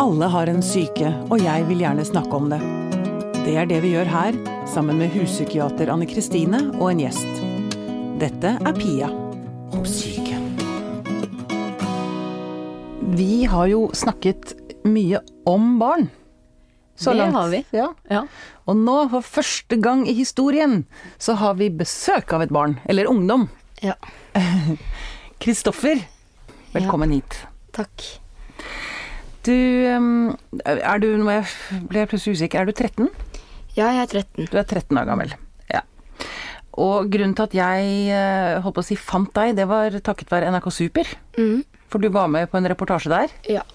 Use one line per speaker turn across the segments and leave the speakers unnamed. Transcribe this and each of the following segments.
Alle har en syke, og jeg vil gjerne snakke om det. Det er det vi gjør her, sammen med huspsykiater Anne Kristine og en gjest. Dette er Pia om syke.
Vi har jo snakket mye om barn. Så
Det
langt.
har vi.
Ja.
Ja.
Og nå, for første gang i historien, så har vi besøk av et barn, eller ungdom.
ja.
Kristoffer, velkommen hit.
Takk.
Du, ehm, er du, nå jeg ble jeg plutselig usikker, er du 13?
Ja, jeg er 13.
Du er 13 år gammel. Ja. Og grunnen til at jeg eh, holdt på å si fant deg, det var takket være NRK Super.
Mm.
For du var med på en reportasje der.
Ja.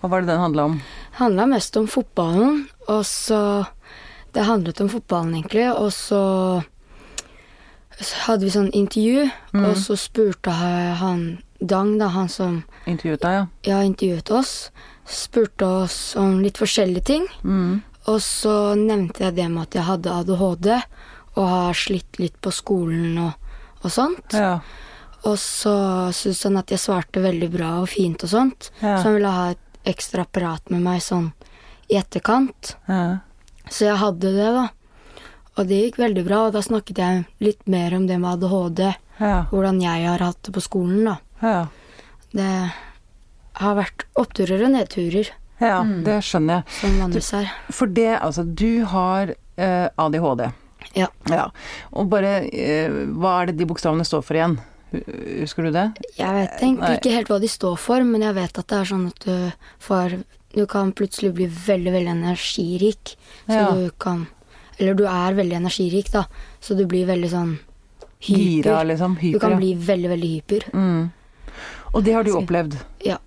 Hva var det den handla om?
Handla mest om fotballen, og så Det handlet om fotballen, egentlig, og så så hadde vi sånn intervju, og så spurte ha- han Dang, da, han som
Intervjuet deg, ja.
ja, intervjuet oss, spurte oss om litt forskjellige ting. Og så nevnte jeg det med at jeg hadde ADHD og har slitt litt på skolen og, og sånt.
ja.
Og så syntes han at jeg svarte veldig bra og fint og sånt.
Ja.
Så han ville ha et ekstra prat med meg sånn i etterkant.
ja.
Så jeg hadde det, da. Og det gikk veldig bra, og da snakket jeg litt mer om det med ADHD.
ja.
Hvordan jeg har hatt det på skolen, da.
ja.
Det har vært oppturer og nedturer,
Ja,
Mm.
det skjønner jeg.
som vanligvis er.
For det, altså, du har eh, ADHD.
Ja.
Ja. Og bare eh, Hva er det de bokstavene står for igjen? Hu- Husker du det?
Jeg vet egentlig
Nei.
ikke helt hva de står for, men jeg vet at det er sånn at du får Du kan plutselig bli veldig, veldig energirik, så
Ja.
du kan Eller du er veldig energirik, da, så du blir veldig sånn
Gira,
hyper.
liksom.
Du
Hyper.
kan
ja. Mm.
bli veldig, veldig hyper.
Og det har du opplevd.
Ja.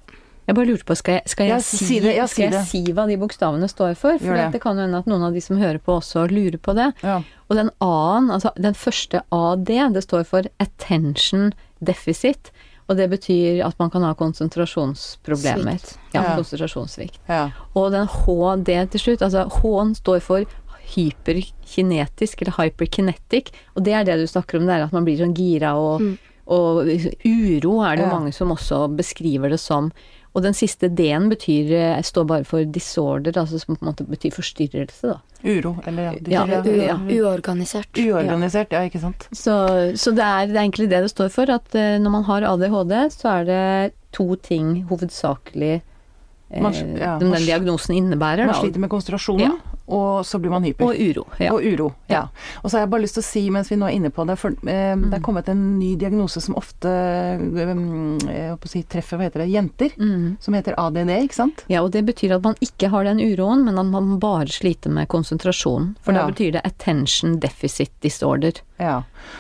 Jeg bare lurte på, skal jeg, skal jeg,
Ja,
si,
si det, ja, si
skal jeg
det.
si hva de bokstavene står for? For
Gjør det.
det. kan jo hende at noen av de som hører på også lurer på det.
Ja.
Og den A-en, altså den første AD, det står for attention deficit. Og det betyr at man kan ha konsentrasjonsproblemer.
Svikt.
Ja,
Ja.
konsentrasjonssvikt.
Ja.
Og den HD til slutt, altså H-en står for hyperkinetisk, eller hyperkinetic, og det er det du snakker om, det er at man blir sånn gira og, og uro er det jo
Ja.
mange som også beskriver det som. Og den siste D-en betyr, eh, står bare for disorder, altså som på en måte betyr forstyrrelse, da.
Uro, eller ja.
Ja.
U
ja.
Uorganisert.
Uorganisert, ja, ikke sant.
Så, så det, er, det er egentlig det det står for, at eh, når man har ADHD, så er det to ting hovedsakelig eh,
Man sl- ja,
den,
man sl-
den diagnosen innebærer,
Man
da.
sliter med konsentrasjonen,
Ja.
og så blir man hyper.
Og uro. Ja.
Og uro, ja.
Ja.
Og så har jeg bare lyst til å si, mens vi nå er inne på det, for eh, det er kommet en ny diagnose som ofte eh, jeg holdt på å si, treffer, hva heter det, jenter.
Mm.
Som heter ADD, E, ikke sant?
Ja, og det betyr at man ikke har den uroen, men at man bare sliter med konsentrasjonen. For
Ja.
da betyr det attention deficit disorder.
Ja.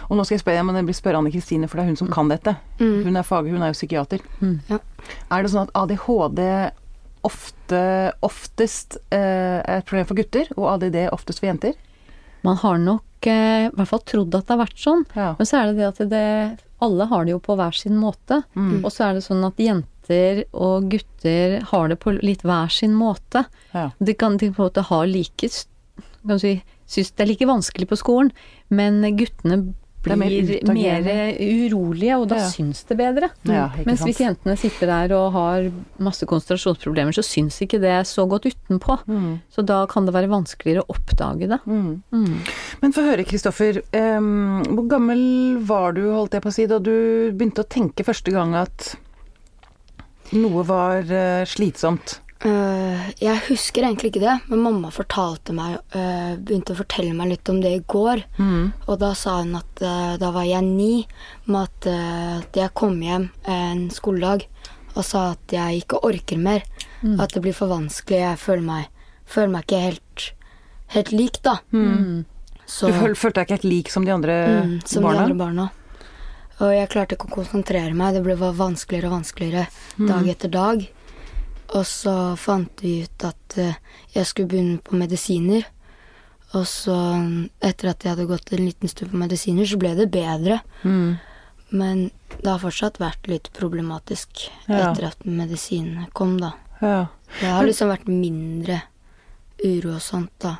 Og nå skal jeg spørre, jeg må nemlig spørre Anne Kristine, for det er hun som kan dette. Hun er fag, hun er jo psykiater.
Ja.
Er det sånn at ADHD ofte, oftest eh, er et problem for gutter, og ADD oftest for jenter?
Man har nok eh, i hvert fall trodd at det har vært sånn,
Ja.
men så er det det at det, alle har det jo på hver sin måte.
Mm.
Og så er det sånn at jenter og gutter har det på litt hver sin måte.
Ja.
De kan de på en måte ha like s- kan du si, synes det er like vanskelig på skolen, men guttene
er
blir
mer
mer, eh, urolige, og da
Ja.
syns det bedre.
Ja, ikke
Mens
sant.
hvis jentene sitter der og har masse konsentrasjonsproblemer, så syns ikke det så godt utenpå.
Mm.
Så da kan det være vanskeligere å oppdage det.
Men få høre, Kristoffer. em, hvor gammel var du, holdt jeg på å si, da du begynte å tenke første gang at noe var eh, slitsomt?
Øh, jeg husker egentlig ikke det, men mamma fortalte meg, øh, begynte å fortelle meg litt om det i går. Og da sa hun at øh, da var jeg ni, med at øh, at jeg kom hjem eh, en skoledag og sa at jeg ikke orker mer. At det blir for vanskelig. Jeg føler meg, føler meg ikke helt, helt lik, da.
Mm. Du
Så,
føl- følte deg ikke helt lik som de andre
mm, som
eh, barna?
de andre barna. Og jeg klarte ikke å konsentrere meg. Det ble bare vanskeligere og vanskeligere
Mm.
dag etter dag. Og så fant vi ut at eh, jeg skulle begynne på medisiner. Og så, mm, etter at jeg hadde gått en liten stund på medisiner, så ble det bedre.
Mm.
Men det har fortsatt vært litt problematisk
Ja.
etter at medisinene kom, da.
Ja.
Det har liksom vært mindre uro og sånt, da.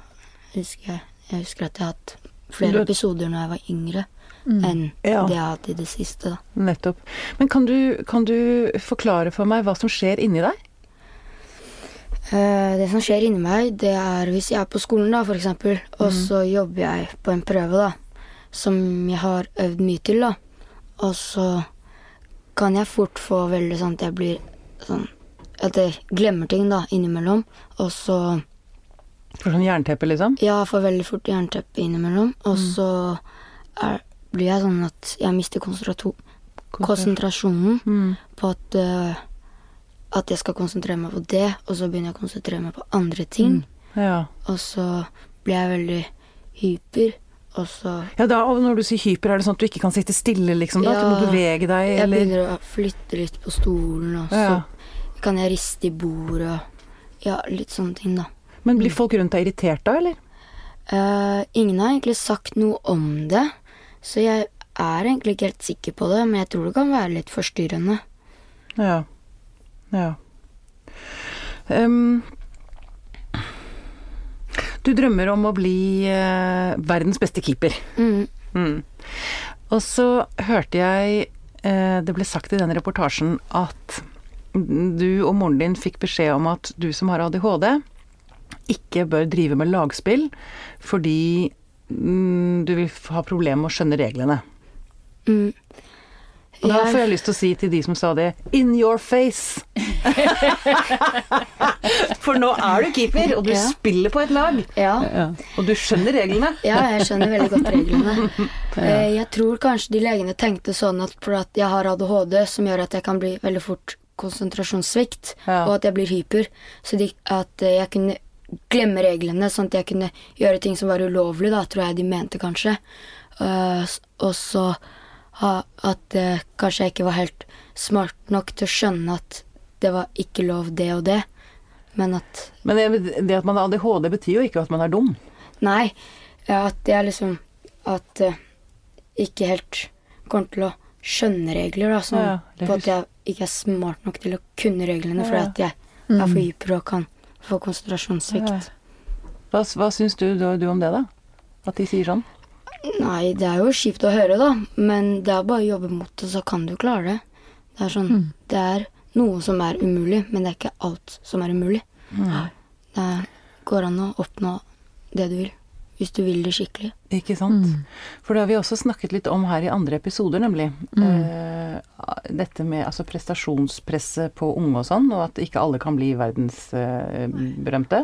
Husker jeg. jeg husker at jeg har hatt flere
Du-
episoder når jeg var yngre, enn
Ja.
det jeg har hatt i det siste, da.
Nettopp. Men kan du, kan du forklare for meg hva som skjer inni deg?
Eh, Det som skjer inni meg, det er hvis jeg er på skolen, da, for eksempel, og så jobber jeg på en prøve, da, som jeg har øvd mye til, da, og så kan jeg fort få veldig sånn at jeg blir sånn At jeg glemmer ting, da, innimellom, og så
For sånn jernteppe, liksom?
Ja, jeg får veldig fort jernteppe innimellom,
Mm.
og så er, blir jeg sånn at jeg mister konsentrato- konsentrasjonen
Mm.
på at eh, at jeg skal konsentrere meg på det, og så begynner jeg å konsentrere meg på andre
Mm.
ting.
Ja.
Og så blir jeg veldig hyper, og så
ja da, og når du sier hyper, er det sånn at du ikke kan sitte stille, liksom? Da? At du må
Ja.
bevege deg,
Jeg
eller
begynner å flytte litt på stolen, og så
Ja.
kan jeg riste i bordet og ja, litt sånne ting, da.
Men blir folk rundt deg irritert da, eller?
Eh, ingen har egentlig sagt noe om det, så jeg er egentlig ikke helt sikker på det, men jeg tror det kan være litt forstyrrende.
Ja. Ja. Ehm, du drømmer om å bli eh, verdens beste keeper.
Mm.
Mm. Og så hørte jeg eh, det ble sagt i den reportasjen at du og moren din fikk beskjed om at du som har ADHD, ikke bør drive med lagspill fordi mm, du vil ha problemer med å skjønne reglene.
Mm.
Og da får
Jeg,
jeg lyst til å si til de som sa det, in your face! For nå er du keeper, og du
Ja.
spiller på et lag,
ja.
Ja.
og du skjønner reglene.
Ja, jeg skjønner veldig godt reglene. Eh, Jeg tror kanskje de legene tenkte sånn at for at jeg har ADHD, som gjør at jeg kan bli veldig fort konsentrasjonssvikt,
Ja.
og at jeg blir hyper, så de, at eh, jeg kunne glemme reglene, sånn at jeg kunne gjøre ting som var ulovlig, da, tror jeg de mente kanskje. Eh, s- og så ha, at eh, kanskje jeg ikke var helt smart nok til å skjønne at det var ikke lov det og det, men at
Men det, det at man har ADHD betyr jo ikke at man er dum.
Nei, ja, at jeg liksom At eh, ikke helt kommer til å skjønne regler, da. Sånn,
Ja, det
på
hus-
at jeg ikke er smart nok til å kunne reglene, fordi
Ja.
at jeg
Mm.
er for hyper og kan få konsentrasjonssvikt.
Hva, hva syns du, du, du om det, da? At de sier sånn?
Nei, det er jo kjipt å høre, da, men det er bare å jobbe mot det, så kan du klare det. Det er sånn Det er noe som er umulig, men det er ikke alt som er umulig.
Mm.
Det er- går an å oppnå det du vil, hvis du vil det skikkelig.
Ikke sant? For det har vi også snakket litt om her i andre episoder, nemlig. Eh, dette med altså, prestasjonspresset på unge og sånn, og at ikke alle kan bli verdensberømte.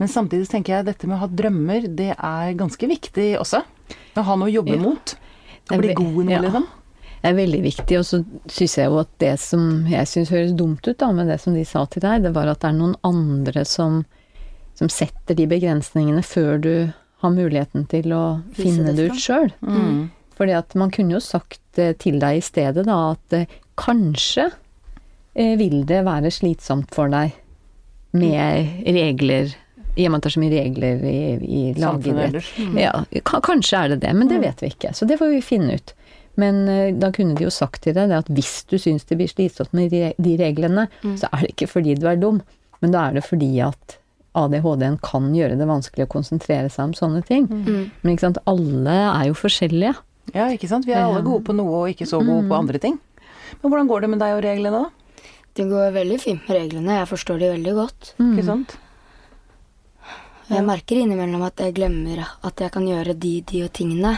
Men samtidig tenker jeg dette med å ha drømmer, det er ganske viktig også. Å ha noe å jobbe mot. Å
Jeg
bli
vet-
god i noe,
ja.
liksom.
Det er veldig viktig, og så syns jeg jo at det som jeg syns høres dumt ut, da, med det som de sa til deg, det var at det er noen andre som, som setter de begrensningene før du har muligheten til å
Vise
finne
det
det ut sjøl. Fordi at man kunne jo sagt eh, til deg i stedet da at eh, kanskje eh, vil det være slitsomt for deg med regler i og med at det er så mye regler i, i
Samfunnet
lagidrett.
ellers.
Ja, ka- kanskje er det det, men det vet vi ikke. Så det får vi finne ut. Men eh, da kunne de jo sagt til deg det at hvis du syns det blir slitsomt med de de reglene, så er det ikke fordi du er dum, men da er det fordi at ADHD-en kan gjøre det vanskelig å konsentrere seg om sånne ting.
Mm.
Men ikke sant, alle er jo forskjellige.
Ja, ikke sant. Vi er alle gode på noe og ikke så gode på andre ting. Men hvordan går det med deg og reglene, da?
Det går veldig fint med reglene. Jeg forstår de veldig godt.
Ikke sant?
Jeg merker innimellom at jeg glemmer at jeg kan gjøre de, de og tingene.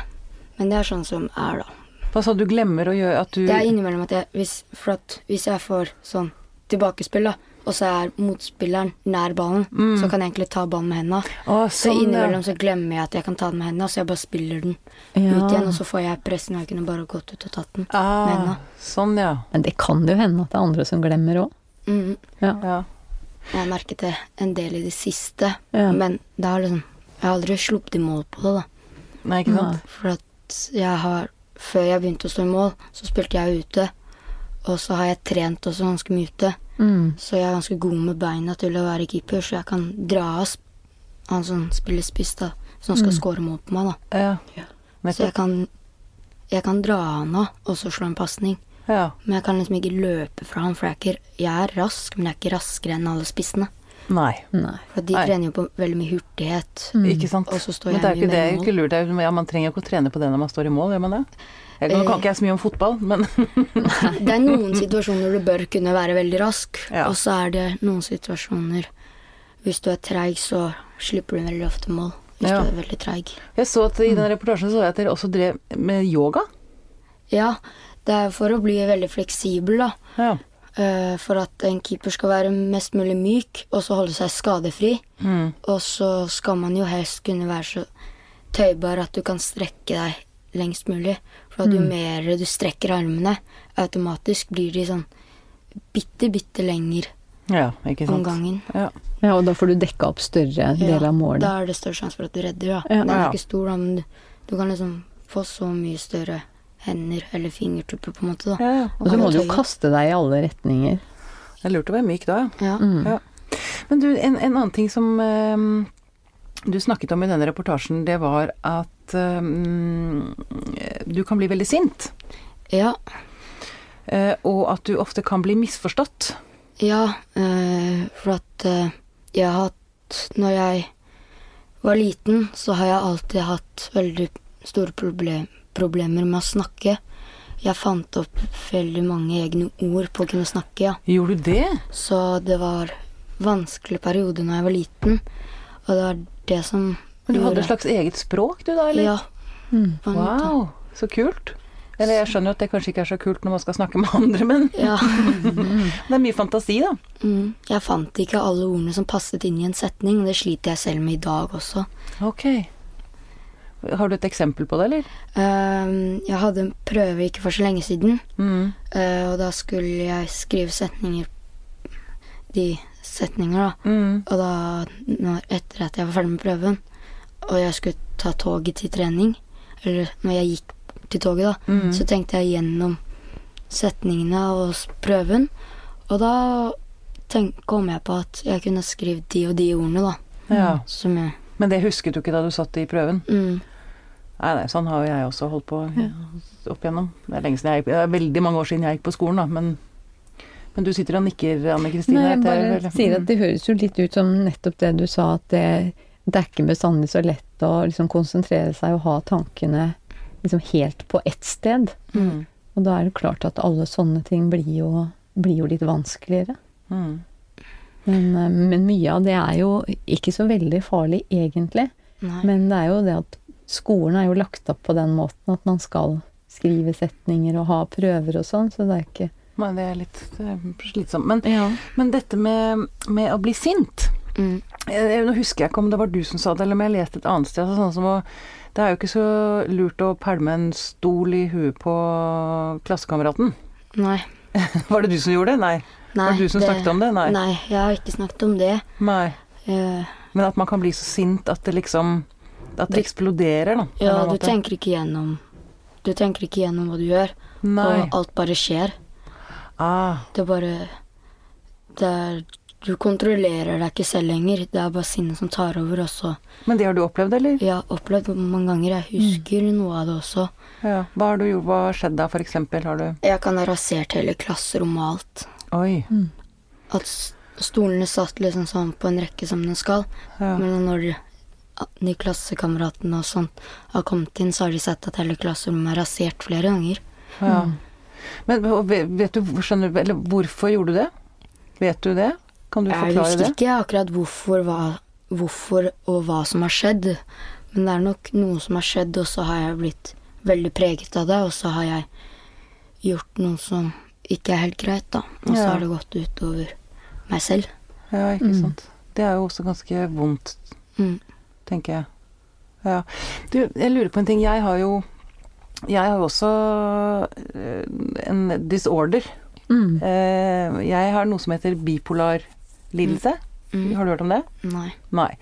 Men det er sånn som er, da.
Hva sa du glemmer å gjøre at du
Det er innimellom at jeg hvis, For at hvis jeg får sånn tilbakespill, da, og så er motspilleren nær ballen, så kan jeg egentlig ta ballen med henda.
Å,
Så
sånn, ja.
innimellom så glemmer jeg at jeg kan ta den med henda, så jeg bare spiller den
Ja.
ut igjen, og så får jeg pressen, og jeg kunne bare gått ut og tatt den med
ah,
henda.
Sånn, ja.
Men det kan jo hende at det er andre som glemmer òg.
Mm.
ja.
Jeg har merket det en del i det siste,
Ja.
men det har liksom Jeg har aldri sluppet i mål på det, da.
Nei, ikke sant.
For at jeg har Før jeg begynte å stå i mål, så spilte jeg ute. Og så har jeg trent også ganske mye ute.
Mm.
Så jeg er ganske god med beina til å være keeper, så jeg kan dra av sp- han som spiller spiss, da. Som skal score mål på meg, da.
Ja.
Så
Nettopp.
jeg kan, jeg kan dra han av og så slå en pasning.
Ja.
Men jeg kan liksom ikke løpe fra han, for jeg er, ikke, jeg er rask, men jeg er ikke raskere enn alle spissene.
Nei.
Nei. Mm.
For de
Nei.
trener jo på veldig mye hurtighet.
Ikke sant.
Mm. Og så står
men
jeg
det er jo
mye
ikke, det er
mer i
jo
mål.
ikke lurt. Det er jo- Ja, man trenger jo ikke å trene på det når man står i mål, gjør man det? Jeg nå
Eh.
kan ikke jeg så mye om fotball, men
Det er noen situasjoner du bør kunne være veldig rask,
Ja.
og så er det noen situasjoner hvis du er treig, så slipper du veldig ofte mål. Hvis
Ja.
du er veldig treig.
Jeg så at I den
Mm.
reportasjen så jeg at dere også drev med yoga.
Ja, det er for å bli veldig fleksibel, da.
Ja.
Eh, for at en keeper skal være mest mulig myk, og så holde seg skadefri.
Mm.
Og så skal man jo helst kunne være så tøybar at du kan strekke deg lengst mulig. For at
Mm.
jo mer du strekker armene, automatisk blir de sånn bitte, bitte lenger
ja, ikke sant.
om gangen.
Ja.
Ja, og da får du dekka opp større deler
Ja,
av målet.
Da er det større sjanse for at du redder, da.
Ja,
Den er
ja.
ikke stor, da, men du, du kan liksom få så mye større hender eller fingertupper, på en måte, da.
Ja, ja.
Og så må du jo
Tøyet.
kaste deg i alle retninger. Mm.
Det er lurt å være myk da, ja. Mm.
Ja.
Ja. Men du, en, en annen ting som ehm, du snakket om i denne reportasjen, det var at ehm, du kan bli veldig sint.
ja.
eh, og at du ofte kan bli misforstått.
Ja, eh, for at eh, jeg har hatt Når jeg var liten, så har jeg alltid hatt veldig store proble problemer med å snakke. Jeg fant opp veldig mange egne ord på å kunne snakke, ja.
Gjorde du det?
Så det var vanskelig periode når jeg var liten, og det var det som
Men du hadde et
gjorde-
slags eget språk du da, eller?
Ja.
Mm.
på en måte.
Wow, så kult. Eller jeg skjønner jo at det kanskje ikke er så kult når man skal snakke med andre, men
Ja.
det er mye fantasi, da.
Mm. Jeg fant ikke alle ordene som passet inn i en setning, og det sliter jeg selv med i dag også.
Ok. Har du et eksempel på det, eller?
Ehm, jeg hadde en prøve ikke for så lenge siden,
Mm,
eh, og da skulle jeg skrive setninger De setninger, da.
Mm.
Og da, når, etter at jeg var ferdig med prøven, og jeg skulle ta toget til trening, eller når jeg gikk til toget, da,
Mm.
så tenkte jeg gjennom setningene og s- prøven, og da tenk, kom jeg på at jeg kunne skrevet de og de ordene, da.
Ja.
Mm.
Som jeg
Men det husket du ikke da du satt i prøven?
mm.
Nei, nei, sånn har jo jeg også holdt på opp igjennom. Det er lenge siden jeg gikk, det er veldig mange år siden jeg gikk på skolen, da, men, men du sitter og nikker, Anne Kristine.
Nei, jeg
at jeg
bare
vel-
sier at det høres jo litt ut som nettopp det du sa, at det, det er ikke bestandig så lett å liksom konsentrere seg og ha tankene liksom helt på ett sted.
Mm.
Og da er det klart at alle sånne ting blir jo, blir jo litt vanskeligere.
Mm.
Men, eh, men mye av det er jo ikke så veldig farlig egentlig.
Nei.
Men det er jo det at skolen er jo lagt opp på den måten at man skal skrive setninger og ha prøver og sånn, så det er ikke
Nei, det er litt det er slitsomt. Men, men dette med, med å bli sint
Mm.
Eh, Nå husker jeg ikke om det var du som sa det, eller om jeg leste et annet sted. Altså, sånn som å, det er jo ikke så lurt å pælme en stol i huet på klassekameraten.
Nei.
Var det du som gjorde det? Nei.
Nei,
Var det du som snakket om det? Nei.
Nei, jeg har ikke snakket om det.
Nei.
Eh,
Men at man kan bli så sint at det liksom At det eksploderer, da. på en
ja,
eller annen
du
måte.
tenker ikke gjennom Du tenker ikke gjennom hva du gjør,
Nei.
og alt bare skjer.
Ah,
Det er bare det er, Du kontrollerer deg ikke selv lenger. Det er bare sinnet som tar over også.
men det har du opplevd, eller?
Jeg har opplevd det mange ganger. Jeg husker noe av det også.
Ja. Hva har du gjort? Hva har skjedd da, for eksempel? Har du
Jeg kan ha rasert hele klasserommet og alt.
Oi.
At s- stolene satt liksom sånn på en rekke som den skal.
Ja.
Men når de, de klassekameratene og sånn har kommet inn, så har de sett at hele klasserommet er rasert flere ganger.
Ja.
Mm.
Men og ve- vet du, skjønner du Eller hvorfor gjorde du det? Vet du det? Kan du
Jeg
forklare
husker
det?
ikke akkurat hvorfor, hva, hvorfor og hva som har skjedd, men det er nok noe som har skjedd, og så har jeg blitt veldig preget av det, og så har jeg gjort noe som ikke er helt greit, da. Og så
Ja.
har det gått utover meg selv.
Ja, ikke sant. Det er jo også ganske vondt,
Mm.
tenker jeg. Ja. Du, jeg lurer på en ting. Jeg har jo jeg har jo også øh, en disorder.
Mm.
Eh, Jeg har noe som heter bipolar lidelse. Har du hørt om det?
Mm. Nei.
Nei.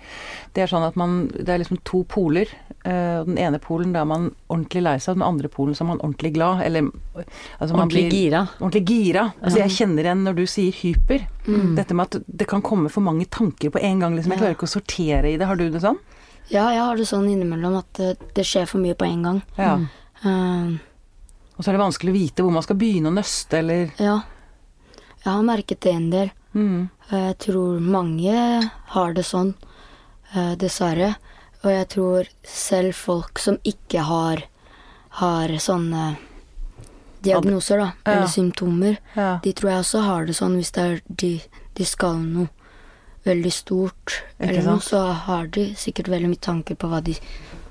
Det er sånn at man Det er liksom to poler. eh, og Den ene polen der er man ordentlig lei seg, og den andre polen så er man ordentlig glad. Eller altså man
Ordentlig
blir-
gira.
Ordentlig gira. Altså jeg kjenner igjen når du sier hyper. Dette med at det kan komme for mange tanker på en gang. liksom Jeg
Mm. Ja.
klarer ikke å sortere i det. Har du det sånn?
Ja, jeg har det sånn innimellom at det, det skjer for mye på en gang.
Mm.
Ja.
Eh,
Og så er det vanskelig å vite hvor man skal begynne å nøste, eller
ja. Jeg har merket det en del.
mm.
Eh, Jeg tror mange har det sånn, eh, dessverre. Og jeg tror selv folk som ikke har, har sånne diagnoser, da,
Ja.
eller symptomer,
Ja.
de tror jeg også har det sånn hvis det er de, de skal noe veldig stort,
Ikke
eller noe,
sant?
så har de sikkert veldig mye tanker på hva de,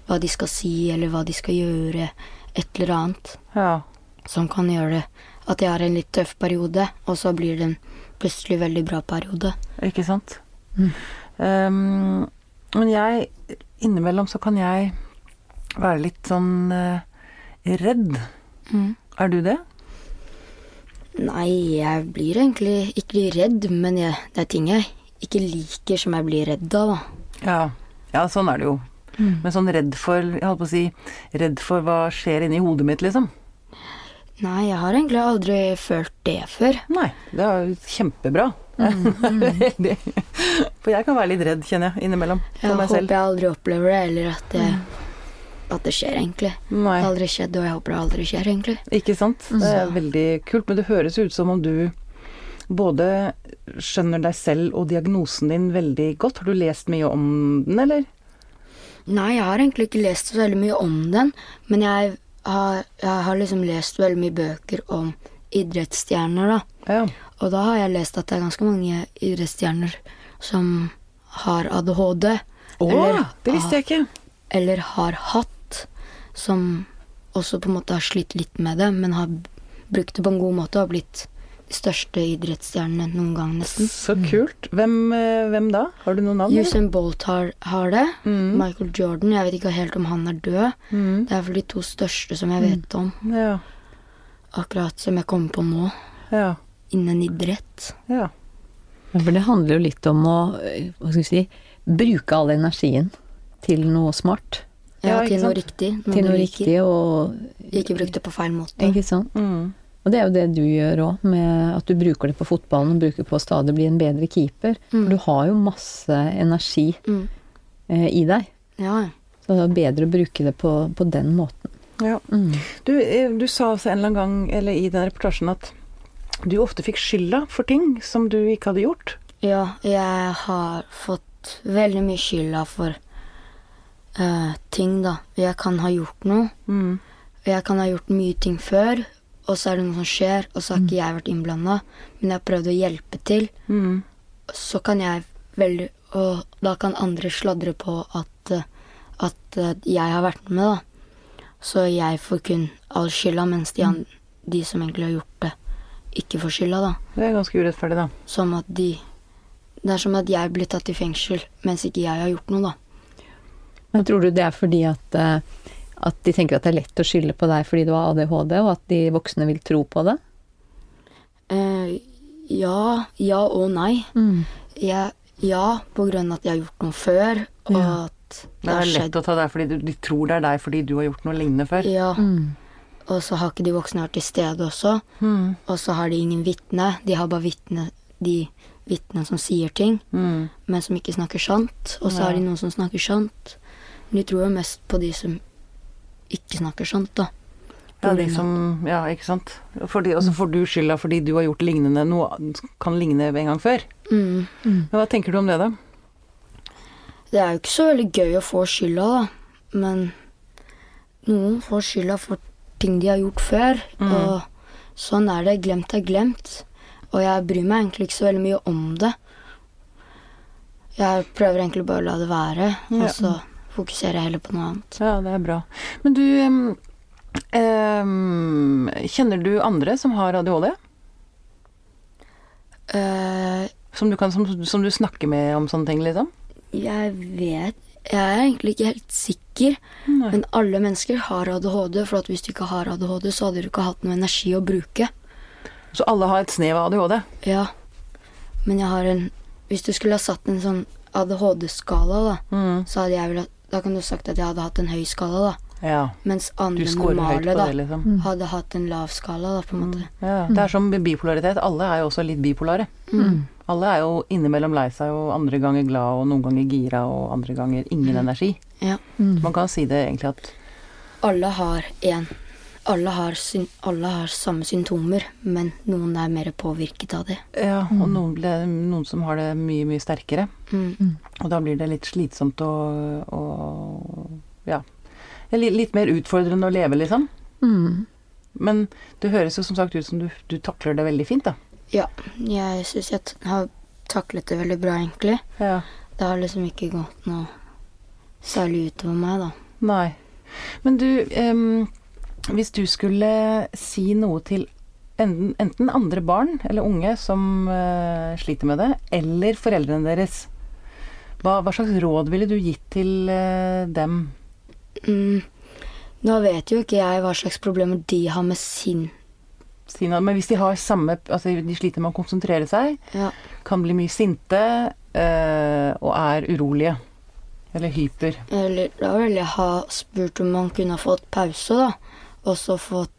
hva de skal si, eller hva de skal gjøre, et eller annet
Ja.
som kan gjøre det. At de har en litt tøff periode, og så blir det en plutselig veldig bra periode.
Ikke sant? Um, men jeg Innimellom så kan jeg være litt sånn eh, redd. Er du det?
Nei, jeg blir egentlig ikke redd, men jeg, det er ting jeg ikke liker som jeg blir redd av. Da.
Ja. ja, sånn er det jo. Men sånn redd for Jeg holdt på å si redd for hva skjer inni hodet mitt, liksom.
Nei, jeg har egentlig aldri følt det før.
Nei, det er jo kjempebra.
Mm,
Veldig. for jeg kan være litt redd, kjenner jeg, innimellom. For
Jeg
meg
håper
selv. Mm.
jeg aldri opplever det, eller at det, at det skjer, egentlig.
Nei.
Det har aldri skjedd, og jeg håper det aldri skjer, egentlig.
Ikke sant?
Mm.
Det er veldig kult, men det høres ut som om du både skjønner deg selv og diagnosen din veldig godt. Har du lest mye om den, eller?
Nei, jeg har egentlig ikke lest så veldig mye om den, men jeg har, jeg har liksom lest veldig mye bøker om idrettsstjerner, da.
Ja.
Og da har jeg lest at det er ganske mange idrettsstjerner som har ADHD.
Å,
eller,
det visste jeg ikke.
Eller har hatt, som også på en måte har slitt litt med det, men har brukt det på en god måte og har blitt de største idrettsstjernene noen gang, nesten.
Så kult. Hvem, eh, hvem da? Har du noe navn? eller? Mm.
Usain Bolt har, har det. Michael Jordan. Jeg vet ikke helt om han er død. Det er vel de to største som
Mm.
jeg vet om,
Ja,
akkurat som jeg kommer på nå,
ja,
innen idrett.
ja.
For det handler jo litt om å eh, hva skal vi si, bruke all energien til noe smart.
Ja,
Ja, ikke
til noe
sant?
riktig.
Til
du
noe
liker.
riktig og
Ikke brukt det på feil måte.
Ikke sant?
Mm.
Og det er jo det du gjør òg, med at du bruker det på fotballen og bruker på å stadig bli en bedre keeper. For du har jo masse energi
Mm.
eh, i deg.
Ja, ja.
Så det er bedre å bruke det på, på den måten.
ja. Du, eh, du sa altså en eller annen gang, eller i den reportasjen, at du ofte fikk skylda for ting som du ikke hadde gjort.
Ja, jeg har fått veldig mye skylda for eh, ting, da. Jeg kan ha gjort noe.
Mm,
Jeg kan ha gjort mye ting før, og så er det noe som skjer, og så har ikke jeg vært innblanda, men jeg har prøvd å hjelpe til.
mm.
Så kan jeg veldig Og da kan andre sladre på at, eh, at eh, jeg har vært med, da. Så jeg får kun all skylda, mens de, an de som egentlig har gjort det, ikke får skylda, da.
Det er ganske urettferdig, da.
Som at de Det er som at jeg blir tatt i fengsel mens ikke jeg har gjort noe, da.
Men tror du det er fordi at, eh, at de tenker at det er lett å skylde på deg fordi du har ADHD, og at de voksne vil tro på det?
Eh, ja, ja og nei. Jeg, ja, på grunn av at jeg har gjort noe før, og at det
Det
har
er lett
skjedd.
å ta deg fordi du, de tror det er deg fordi du har gjort noe lignende før.
Ja.
Mm.
Og så har ikke de voksne vært til stede også.
Mm,
Og så har de ingen vitne. De har bare vitne, de vitnene som sier ting,
mm.
men som ikke snakker sant. Og så har de noen som snakker sant. Men de tror jo mest på de som ikke snakker sant, da.
Ja, de
Problemet.
som, liksom- ja, ikke sant. Fordi, og så får du skylda fordi du har gjort lignende noe kan ligne en gang før.
Mm.
Men hva tenker du om det, da?
Det er jo ikke så veldig gøy å få skylda, da. Men noen får skylda for ting de har gjort før.
Mm.
Og sånn er det. Glemt er glemt. Og jeg bryr meg egentlig ikke så veldig mye om det. Jeg prøver egentlig bare å la det være,
Ja.
og så fokuserer jeg heller på noe annet.
Ja, det er bra. Men du em, em, Kjenner du andre som har ADHD?
Eh,
Som du, kan, som, som du snakker med om sånne ting, liksom?
jeg vet Jeg er egentlig ikke helt sikker,
Nei.
men alle mennesker har ADHD. For at hvis du ikke har ADHD, så hadde du ikke hatt noe energi å bruke.
Så alle har et snev av ADHD?
Ja, men jeg har en Hvis du skulle ha satt en sånn ADHD-skala, da,
Mm.
så hadde jeg vel Da kan du sagt at jeg hadde hatt en høy skala, da.
Ja.
Mens
Du
andre
scorer høyt
normale,
på
da,
det, liksom. Mm.
hadde hatt en lav skala, da, på en måte.
ja. Det er som med bipolaritet. Alle er jo også litt bipolare.
Mm.
Alle er jo innimellom lei seg og andre ganger glad og noen ganger gira og andre ganger ingen energi.
Ja.
Så man kan si det egentlig at
Alle har én. Alle har, syn, alle har samme symptomer, men noen er mer påvirket av det.
Ja, og noen, ble, noen som har det mye, mye sterkere.
Mm.
Og da blir det litt slitsomt og, og ja. Eller Litt mer utfordrende å leve, liksom. Men det høres jo som sagt ut som du, du takler det veldig fint, da.
Ja, jeg syns jeg t- har taklet det veldig bra, egentlig.
Ja.
Det har liksom ikke gått noe særlig utover meg, da.
Nei. Men du, em, hvis du skulle si noe til enten, enten andre barn eller unge som eh, sliter med det, eller foreldrene deres, hva, hva slags råd ville du gitt til eh, dem?
Mm. Nå vet jo ikke jeg hva slags problemer de har med sin
Sina? Men hvis de har samme Altså de sliter med å konsentrere seg,
Ja.
kan bli mye sinte eh, og er urolige. Eller hyper.
Eller da ville jeg ha spurt om man kunne ha fått pause, da. Og så fått,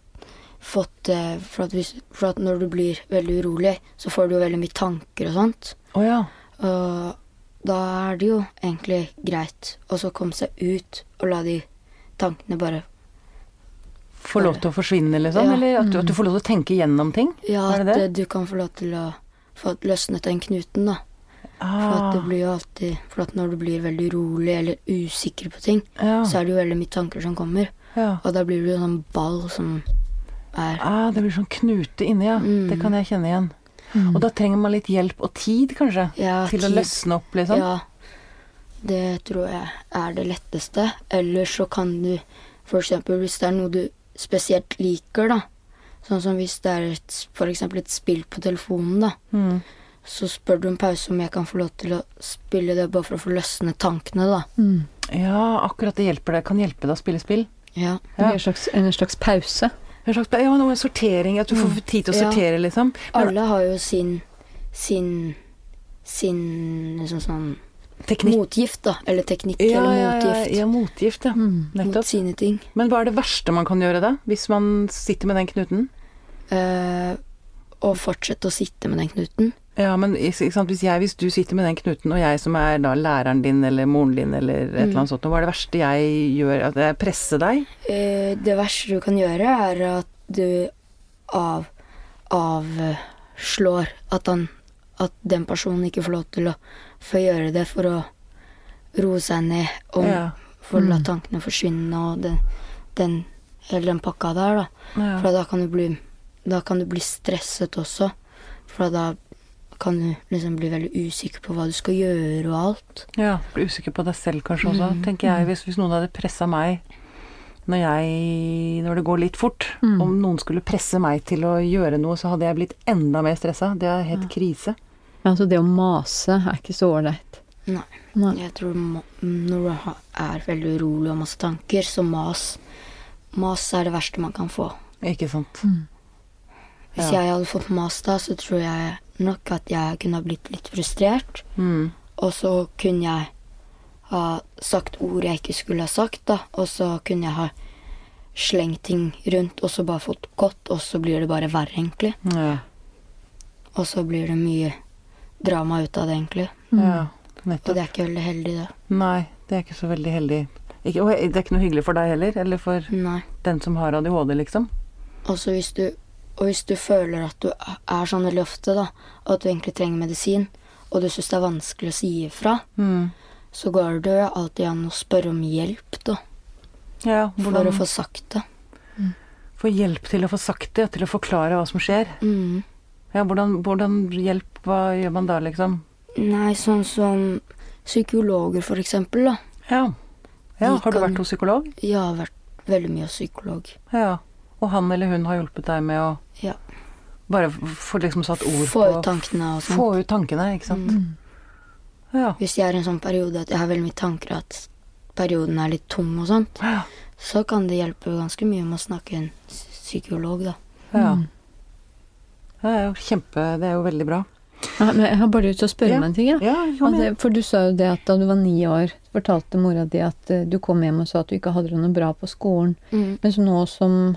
fått eh, for, at hvis, for at når du blir veldig urolig, så får du jo veldig mye tanker og sånt.
Å ja.
Og da er det jo egentlig greit å så komme seg ut og la de tankene bare
Få lov til å forsvinne, liksom?
Ja. Mm.
Eller at du, at du får lov til å tenke gjennom ting?
Ja,
Er
at
det det?
eh, du kan få lov til å få løsnet den knuten, da. For
Ah,
at det blir jo alltid For at når du blir veldig urolig eller usikker på ting,
Ah, ja,
så er det jo veldig mye tanker som kommer.
ja.
Og da blir du en sånn ball som er
Ah, det blir sånn knute inni, ja.
Mm.
Det kan jeg kjenne igjen.
Mm.
Og da trenger man litt hjelp og tid, kanskje?
Ja,
til å
tid.
løsne opp, liksom?
Ja. Det tror jeg er det letteste. Eller så kan du f.eks. hvis det er noe du spesielt liker, da. Sånn som hvis det er et, for eksempel et spill på telefonen, da.
Mm.
Så spør du om pause om jeg kan få lov til å spille det bare for å få løsne tankene, da.
Mm.
ja, akkurat det hjelper deg. Kan hjelpe deg å spille spill.
Ja.
Ja.
En, slags, en slags pause.
En slags, ja, noe sortering, At du får tid til å
Mm. Ja.
sortere, liksom. Men
Alle har jo sin sin sin liksom sånn
teknikk
motgift, da. Eller teknikk
ja,
eller
ja, ja,
motgift Mm.
ja, motgift, ja.
mot
Nettopp.
sine ting.
Men hva er det verste man kan gjøre da, hvis man sitter med den knuten?
Eh, og fortsette å sitte med den knuten.
Ja, men ikke sant? Hvis, jeg, hvis du sitter med den knuten, og jeg som er da læreren din eller moren din eller et
Mm.
eller annet sånt, hva er det verste jeg gjør? At jeg presser deg?
Eh, det verste du kan gjøre, er at du av, avslår at, han, at den personen ikke får lov til å få gjøre det for å roe seg ned og
Ja. Mm.
for å la tankene forsvinne og den, den, hele den pakka der, da.
Ja.
For da kan du bli da kan du bli stresset også. For da kan du liksom bli veldig usikker på hva du skal gjøre og alt.
Ja, bli usikker på deg selv kanskje også,
Mm.
tenker jeg. Hvis, hvis noen hadde pressa meg når, jeg, når det går litt fort,
Mm.
om noen skulle presse meg til å gjøre noe, så hadde jeg blitt enda mer stressa. Det er helt krise.
Ja, altså det å mase er ikke så ålreit.
Nei.
Nei.
Jeg tror ma- når du ha- er veldig urolig og masse tanker, så mas Mas er det verste man kan få.
Ikke sant.
Mm. Hvis jeg hadde fått mas da, så tror jeg nok at jeg kunne ha blitt litt frustrert.
Mm.
Og så kunne jeg ha sagt ord jeg ikke skulle ha sagt, da. Og så kunne jeg ha slengt ting rundt, og så bare fått godt, og så blir det bare verre, egentlig.
Ja.
Og så blir det mye drama ut av det, egentlig.
ja.
Og
Nettopp.
det er ikke veldig heldig, det.
Nei, det er ikke så veldig heldig. Ikke, og det er ikke noe hyggelig for deg heller, eller for
Nei.
den som har ADHD, liksom.
Også Altså, hvis du, og hvis du føler at du er sånn veldig ofte, da, og at du egentlig trenger medisin, og du syns det er vanskelig å si ifra,
Mm.
så går det jo alltid an å spørre om hjelp, da,
Ja,
for
hvordan
å få sagt det.
få hjelp til å få sagt det, til å forklare hva som skjer.
Mm.
Ja, hvordan, hvordan hjelp, hva gjør man da, liksom?
Nei, sånn som psykologer, for eksempel, da.
Ja. ja.
Vi
Har du
kan-
vært hos psykolog?
Jeg har vært veldig mye hos psykolog.
Ja. Og han eller hun har hjulpet deg med å
Ja.
bare f- få liksom satt ord
Få
på
ut tankene og sånn. Mm.
Få ut tankene, ikke sant.
Mm.
Ja.
Hvis jeg er i en sånn periode at jeg har veldig mye tanker, at perioden er litt tung og sånt,
Ja.
så kan det hjelpe ganske mye med å snakke med en psykolog, da.
ja. Det er jo kjempe Det er jo veldig bra.
Ja, men jeg har bare lyst til å spørre
Ja.
om en ting, jeg.
Ja, jo,
Altså,
men,
for du sa jo det at da du var ni år, fortalte mora di at eh, du kom hjem og sa at du ikke hadde det noe bra på skolen.
Mm.
Mens nå som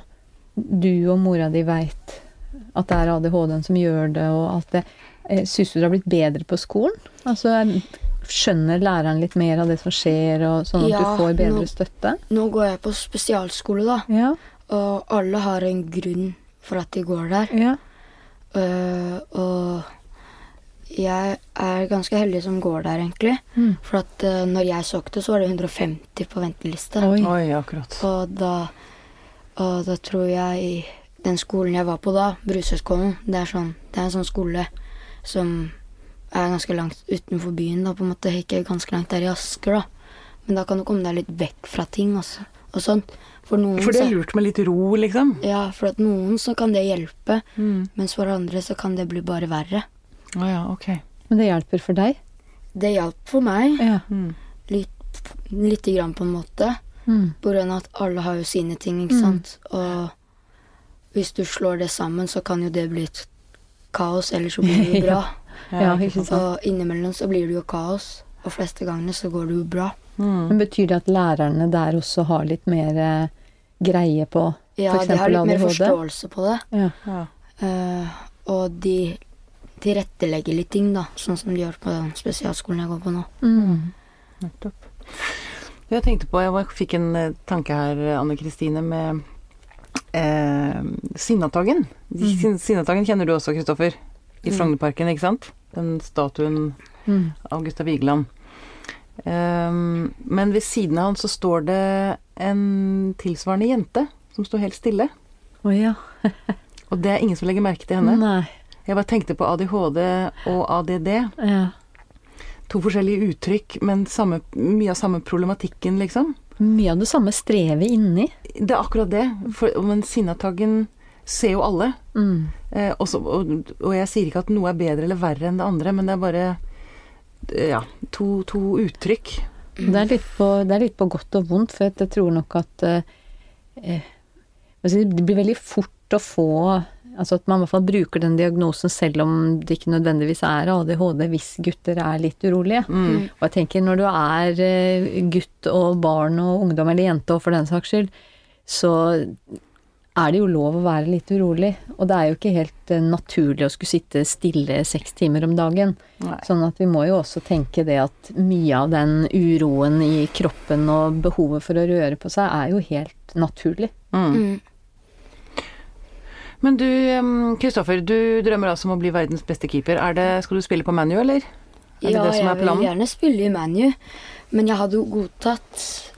du og mora di veit at det er ADHD-en som gjør det, og alt det, eh, syns du du har blitt bedre på skolen? Altså, er- skjønner læreren litt mer av det som skjer, og sånn at
Ja,
du får bedre
nå-
støtte?
Nå går jeg på spesialskole, da.
Ja.
Og alle har en grunn for at de går der.
ja.
Øh, og jeg er ganske heldig som går der, egentlig.
Mm.
For at øh, når jeg søkte, så var det 150 på venteliste.
Oi.
oi, akkurat.
Og da, og da tror jeg i den skolen jeg var på da, Brusøyskolen, det er sånn, det er en sånn skole som Jeg er ganske langt utenfor byen, da, på en måte. Ikke ganske langt der i Asker, da. Men da kan du komme deg litt vekk fra ting også, og sånt. For noen
For det
så-
er lurt med litt ro, liksom. Mm.
Ja, for at noen så kan det hjelpe, mens for andre så kan det bli bare verre.
Å ja, ok.
Men det hjelper for deg?
Det hjalp for meg,
Ja.
Mm.
litt, lite grann på en måte.
Mm.
På grunn av at alle har jo sine ting, ikke sant. Og hvis du slår det sammen, så kan jo det bli et kaos, eller så blir det jo bra.
Ja, ikke sant.
Og innimellom så blir det jo kaos, og fleste gangene så går det jo bra.
Mm.
Men betyr det at lærerne der også har litt mer eh, greie på
Ja,
for
de har litt
eksempel
mer
ADHD?
forståelse på det,
Ja.
Ja.
eh, og de tilrettelegger litt ting, da. Sånn som de gjør på den spesialskolen jeg går på nå.
Mm.
Nettopp. Jeg tenkte på, jeg var- fikk en eh, tanke her, Anne Kristine, med eh, Sinnataggen. De- Sin- Sinnataggen kjenner du også, Kristoffer. I Frognerparken, ikke sant? Den statuen
Mm.
av Gustav Vigeland. Ehm, men ved siden av han så står det en tilsvarende jente som står helt stille.
Å ja.
Og det er ingen som legger merke til henne.
Nei.
Jeg bare tenkte på ADHD og ADD.
Ja.
To forskjellige uttrykk, men samme, mye av samme problematikken, liksom.
Mye av det samme strevet inni.
Det er akkurat det. For, men sinnataggen ser jo alle.
Mm.
Eh, også, og, og jeg sier ikke at noe er bedre eller verre enn det andre, men det er bare eh, ja, to, to uttrykk.
Det er, litt på, det er litt på godt og vondt, for jeg tror nok at eh, eh, altså Det blir veldig fort å få Altså at man i hvert fall bruker den diagnosen selv om det ikke nødvendigvis er ADHD hvis gutter er litt urolige. Og jeg tenker når du er eh, gutt og barn og ungdom, eller jente og for den saks skyld, så er det jo lov å være litt urolig. Og det er jo ikke helt eh, naturlig å skulle sitte stille seks timer om dagen.
Nei.
Sånn at vi må jo også tenke det at mye av den uroen i kroppen og behovet for å røre på seg, er jo helt naturlig.
Mm.
Men du, ehm, Kristoffer, du drømmer altså om å bli verdens beste keeper. Er det, skal du spille på ManU, eller? Er det
Ja,
det som
jeg
er
vil
planen?
gjerne spille i ManU, men jeg hadde jo godtatt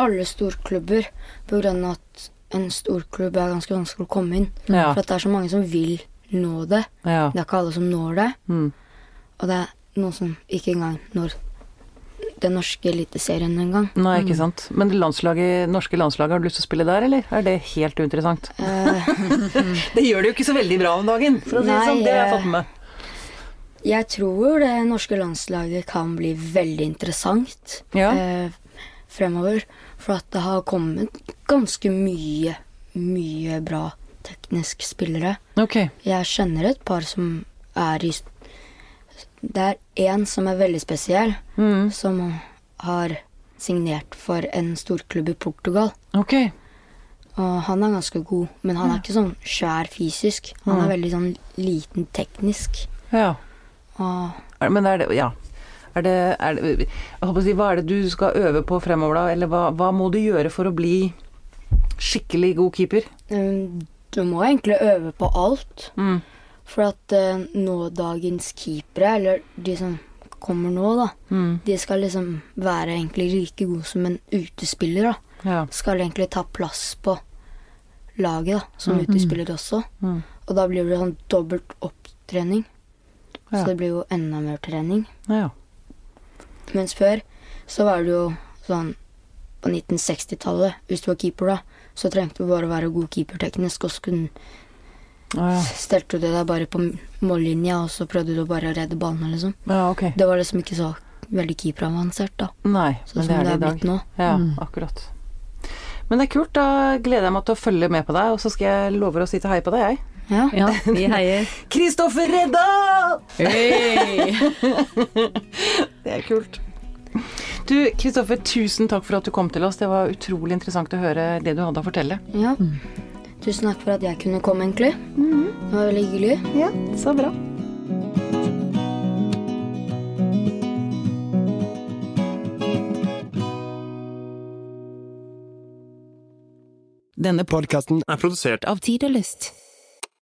alle storklubber på grunn av at en storklubb er ganske vanskelig å komme inn.
Ja.
For at det er så mange som vil nå det.
Ja.
Det er ikke alle som når det.
Mm.
Og det er noen som ikke engang når den norske eliteserien engang.
Nei, ikke
Mm.
sant. Men det landslaget, norske landslaget, har du lyst til å spille der, eller? Er det helt uinteressant?
Eh,
Det gjør det jo ikke så veldig bra om dagen, for å si det
Nei,
sånn. Det har jeg
eh,
fått med meg.
jeg tror det norske landslaget kan bli veldig interessant
Ja.
eh, fremover. For at det har kommet ganske mye, mye bra teknisk spillere.
Ok.
Jeg kjenner et par som er i Det er én som er veldig spesiell,
Mm.
som har signert for en storklubb i Portugal.
Ok.
Og han er ganske god, men han er ikke sånn svær fysisk. Han er veldig sånn liten teknisk.
Ja.
Og
Er, men er det Ja. Er det, er det, jeg håper å si, hva er det du skal øve på fremover, da? Eller hva, hva må du gjøre for å bli skikkelig god keeper?
um, du må egentlig øve på alt.
Mm.
For at uh, nådagens keepere, eller de som kommer nå, da,
Mm.
de skal liksom være egentlig like gode som en utespiller. da.
Ja.
Skal egentlig ta plass på laget, da, som
Mm,
utespiller også. Og da blir det sånn dobbelt opptrening.
Ja.
Så det blir jo enda mer trening.
ja.
Mens før så var det jo sånn På 1960-tallet, hvis du var keeper da, så trengte du bare å være god keeperteknisk, og så kunne,
Ja, ja.
stelte du deg bare på mållinja, og så prøvde du bare å redde ballen, liksom.
ja ok.
Det var liksom ikke så veldig keeperavансert, da.
Nei,
Sånn
men
som
det er Mm. det i dag.
blitt nå.
Ja, akkurat. Men det er kult. Da gleder jeg meg til å følge med på deg, og så skal jeg love å si til hei på deg, jeg.
Ja.
Ja, vi heier.
Kristoffer Redda!
Hei!
Det er kult. Du, Kristoffer, tusen takk for at du kom til oss. Det var utrolig interessant å høre det du hadde å fortelle.
ja.
Mm.
Tusen takk for at jeg kunne komme, egentlig. Det var veldig hyggelig.
Ja, så bra.
Denne
Podkasten er produsert
av Tid og Lyst.